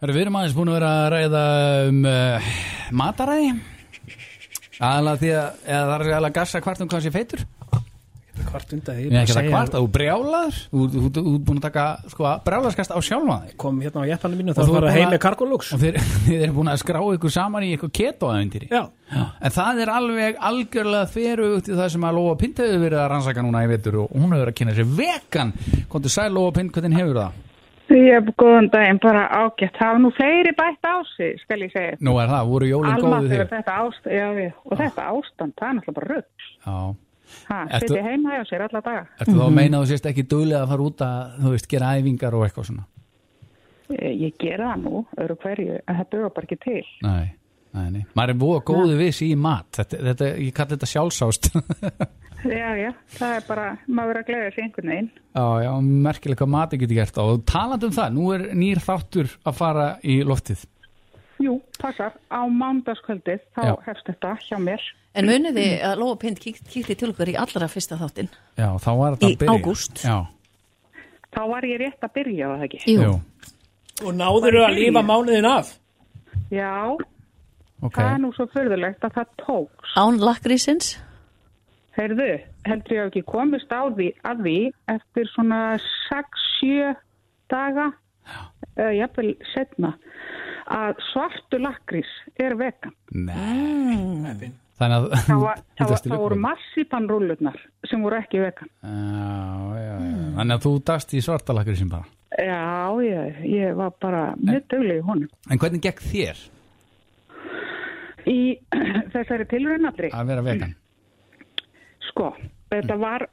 Herru, við erum aðeins búin að vera að ræða um uh, mataræði Aðalega því að eða það er aðalega að gassa hvart um hvað sé feitur Þetta er Kvart undan Ég er ekki að kvarta, þú brjálaður Þú þú- þú- þú ert búin að taka sko, brjálaðskast á sjálfa þig Kom hérna á jeppanum mínu Og þá þú ert var búin að heim að- með kargolux Og þeir, þeir eru búin að skrá ykkur saman í eitthvað keto aðeindir Já, En það er alveg algjörlega þverugt í það sem að Lóa Pind hefur verið að rannsaka núna í vetur og hún hefur verið að kynna sér vegan Kontu sæl Lóa Pind, hvernig hefur það? Ég er góðan daginn, bara ágætt. Það var nú fleiri bætt á sig, skal ég segja. Nú er það, voru jólin Alma góðu þegar þig Ah. þetta ástand, já, já, og þetta ástand, það er náttúrulega bara rugg. Já Ertu- Sitt í heima hjá sér alla daga. Ertu þá að meina að þú sést ekki duglega að fara út að, þú veist, gera æfingar og eitthvað svona? Eh, Ég gera það nú, öru hverju, en það dögur bara ekki til. Nei, nei, nei. Maður er búið góðu viss í mat. Þetta, þetta, ég kalli þetta sjálfsást. já, Já, já, það er bara, maður verður að gleða sér einhvern veginn. já, merkilega hvað mati getur gert. Og talandi um það, nú er nýr þáttur að fara í loftið. Jú, passar, á mándaskvöldið, þá Já. hefst þetta hjá mér. En munið þið að Lóa Pind kík- kíkti til okkur í allra fyrsta þáttin? Já, þá var þetta að Í byrja. ágúst. Já, Þá var ég rétt að byrja á það ekki. jú. og náður að lífa mánuðin af Já, Ok, það er nú svo fyrðulegt að það tóks. Án lakrísins? Heyrðu, heldur ég hafi ekki komist á því að því eftir svona 6-7 daga, uh, jafnvel setna, að svartu lakrís er vegan. þannig að... Það, Mm. var, það, var, Þetta er það voru stílugbrot. massipanrúllunar sem voru ekki vegan. Já, já, já. Þannig að þú dast í svartalakri sem bara. Já, ég, ég var bara mjög dögleg í honum. En hvernig gekk þér Í þessari tilraunadri, að vera vegan? sko, þetta var,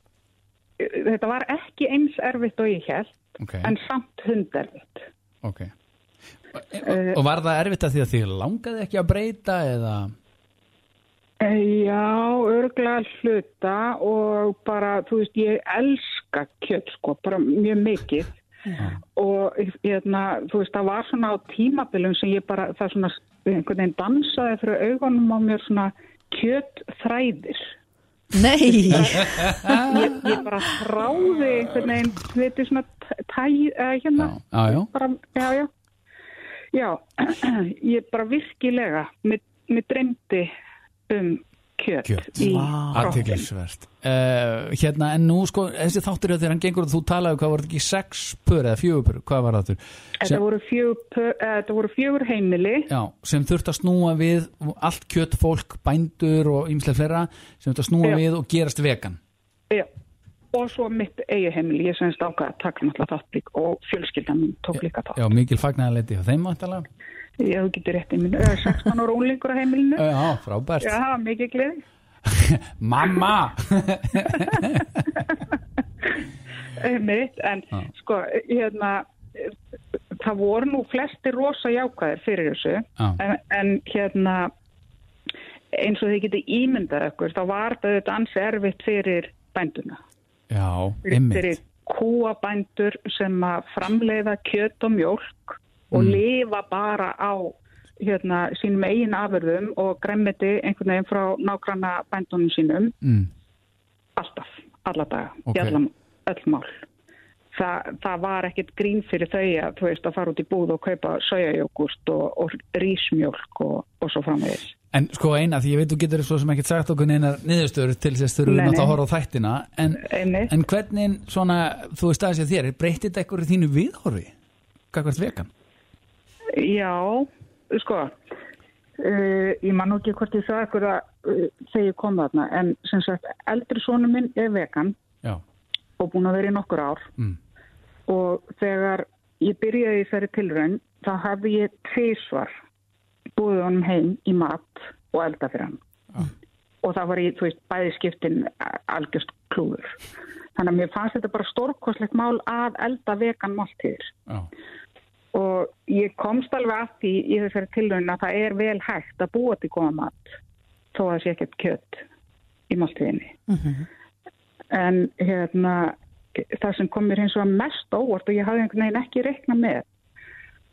þetta var ekki eins erfitt og ég held, Ok, en samt hunderfitt. ok. Eh, Og, og var það erfitt að því að þið langaði ekki að breyta eða... Eh, Já, örglega hluta og bara, þú veist, ég elska kjött, sko, bara mjög mikið og hérna, þú veist, það var svona á tímabilum sem ég bara, það svona einhvern veginn dansaði fyrir augunum á mér svona kjöttþræðir. Nei, Ég, ég bara þráði einhvern veginn, þú veit, svona tæ, uh, hérna, Já, já, já. bara, já, já. Já, ég bara virkilega, mér, mér dreymdi um kjött, Kjöt. í kroppin. Aðtiklisvert uh, Hérna, en nú sko, þessi þáttur hjá þér hann gengur og þú talaði, um hvað var þetta ekki sex pör eða fjögur pör, hvað var það þurr Þetta sem, voru, fjögur, pö- eh, þetta voru fjögur heimili, já, sem þurft að snúa við allt kjött fólk, bændur og ymslega fleira sem þurft að snúa Já. við og gerast vegan já, og svo mitt eigi heimili, ég semst ákvað að taka náttúrulega þátt líka og fjölskyldan mín tók líka þátt. Já, mikil fagnæðarleiti hjá þeim vantalega Ég hef getið rétt í minn, 16 ára úlingur á heimilinu, Já, frábært já, það var mikið gleði. Mamma! Einmitt, eh, en sko, hérna, eh, það voru nú flesti rosa jákvæðir fyrir þessu, Já. en, en hérna, eins og þið getið ímyndað ykkur, þá var þetta auðvitað ansi erfitt fyrir bænduna. Já, fyrir einmitt kúabændur sem að framleiða kjöt og mjólk og Mm. lifa bara á hérna, sínum eigin afurðum og gremmiti einhvern veginn frá nágranna bændunum sínum mm, alltaf, alla daga, Ok. okay. allam, öll mál. Þa, það var ekkert grín fyrir þau að, þú veist, að fara út í búð og kaupa söjajógust og, og rísmjólk og, og svo framvegis. En sko eina, því ég veit þú getur svo sem ekkert sagt okkur neinar niðurstöður til þess þurfum við Nei, nei. náttúrulega að horfa á þættina en, Einmitt. en hvernig svona, þú veist aðeins að þér, breytir þetta eitthvað í þínu viðhorfi? Gagvart vegan? Já, sko, uh, ég man nú ekki hvort ég sagði ykkur að uh, þegar ég kom þarna, en sem sagt, eldri sonu minn er vegan Já, og búin að vera í nokkur ár mm. og þegar ég byrjaði í þessari tilraun, þá hafði ég tvísvar búið honum heim í mat og elda fyrir hann. Og það var í, þú veist, bæði skiptin a- algjörst klúður. Þannig að mér fannst þetta bara stórkoslegt mál að elda vegan máltíðir já, og ég komst alveg að því í þessari tilhörun að það er vel hægt að búa til góða mat þó að það sé ekkert kjött í máltíðinni. En hérna, það sem kom mér hins vegar mest á óvart og ég hafði einhvern veginn ekki reiknað með,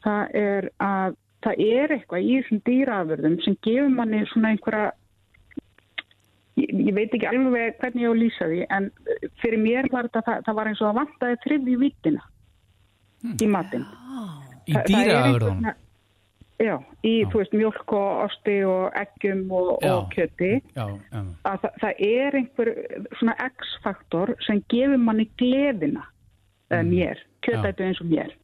það er að það er eitthvað í þessum dýraafurðum sem gefur manni svona einhverja Ég, ég veit ekki alveg hvernig ég á að lýsa því en fyrir mér var þetta það, það var eins og það vantaði þriðju vittina í matinn Í Þa- það er dýraafurðunum? einhvern- Já, í, þú veist, mjölk og osti og eggjum og, Já. og kjöti Já, já, að það, það er einhver svona x-faktor sem gefur manni gleðina mm. mér, kjötætu eins og mér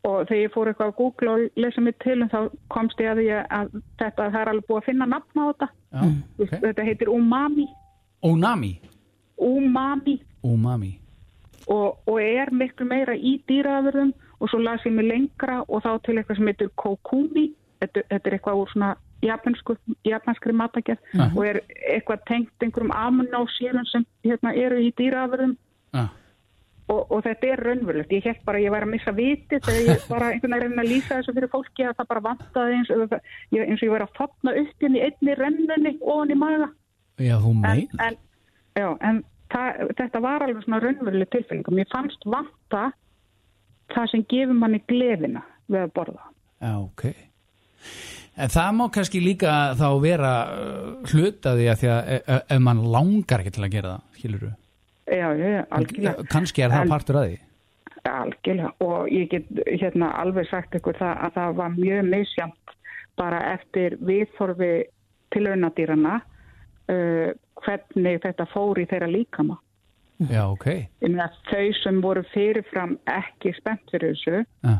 og þegar ég fór eitthvað að googla og lesa mér til um þá komst ég að því að þetta, það er alveg búið að finna nafn á þetta já okay. okay. þetta heitir umami Onami umami Umami og, og er miklu meira í dýraðurðum og svo las ég mig lengra og þá til eitthvað sem heitir kokumi þetta, þetta er eitthvað úr svona japansku, japanskri matagerð Mhm. og er eitthvað tengt einhverjum amnásýrum sem hérna eru í dýraðurðum Já, og, og þetta er raunverulegt ég held bara að ég væri að missa viti þegar ég bara einhvern veginn að reyna að lýsa þessu fyrir fólki að það bara vantaði eins, eða- ég- eins og ég væri að fopna upp hérna í einni rennunni ofan í maga já þú en, meina en, já, en það, þetta var alveg svona raunveruleg tilfinning og mér fannst vanta það sem gefur manni gleðina við að borða. Já, ok En það má kannski líka þá vera uh, hluta því að því að e- e- ef mann langar ekki til að gera það, skilur du? Já, já, já, algjörlega, Kannski er það En- partur að því algjörlega og ég get hérna alveg sagt ykkur það að það var mjög misjant bara eftir viðþorfi tilaunadýrana uh, hvernig þetta fór í þeirra líkama. Já, ok Ég meina þau sem voru fyrirfram ekki spennt fyrir þessu, Já,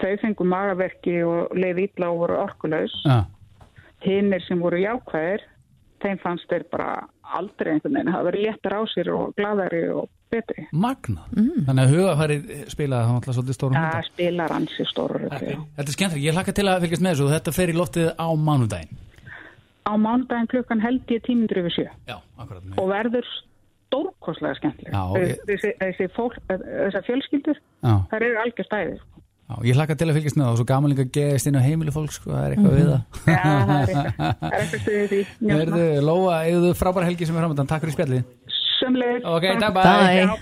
þau fengu magaverki og leið illa og voru orkulegs. já, hinnir sem voru jákvæðir þeim fannst þeir bara aldrei einhvern veginn hafa verið léttar á sér og gladari og betri magna Þannig að hugafarið spilaði það náttúrulega svolítið stórum það hundar spilar ansi stóru röggi Þetta Mhm. er skemmtilega, ég hlakka til að fylgjast með þessu og þetta fer í loftið á mánudaginn á mánudaginn klukkan held ég tímundur yfir sjö Já, akkurat og verður stórkoslega skemmtileg Já, ég- þessi, þessi fólk, eh, þessar fjölskyldur Já, þær eru algjör stæði já, ég hlakka til að fylgjast með það og svo gaman líka að geðast inn á heimili fólk sko, það er eitthvað við það Já, það er eitthvað- það er eitthvað stuðið því Verðu, Lóa, eigðu frábæra helgi sem er framöndan, takk fyrir spjallið Sömleir Ok, takk, bye Bye.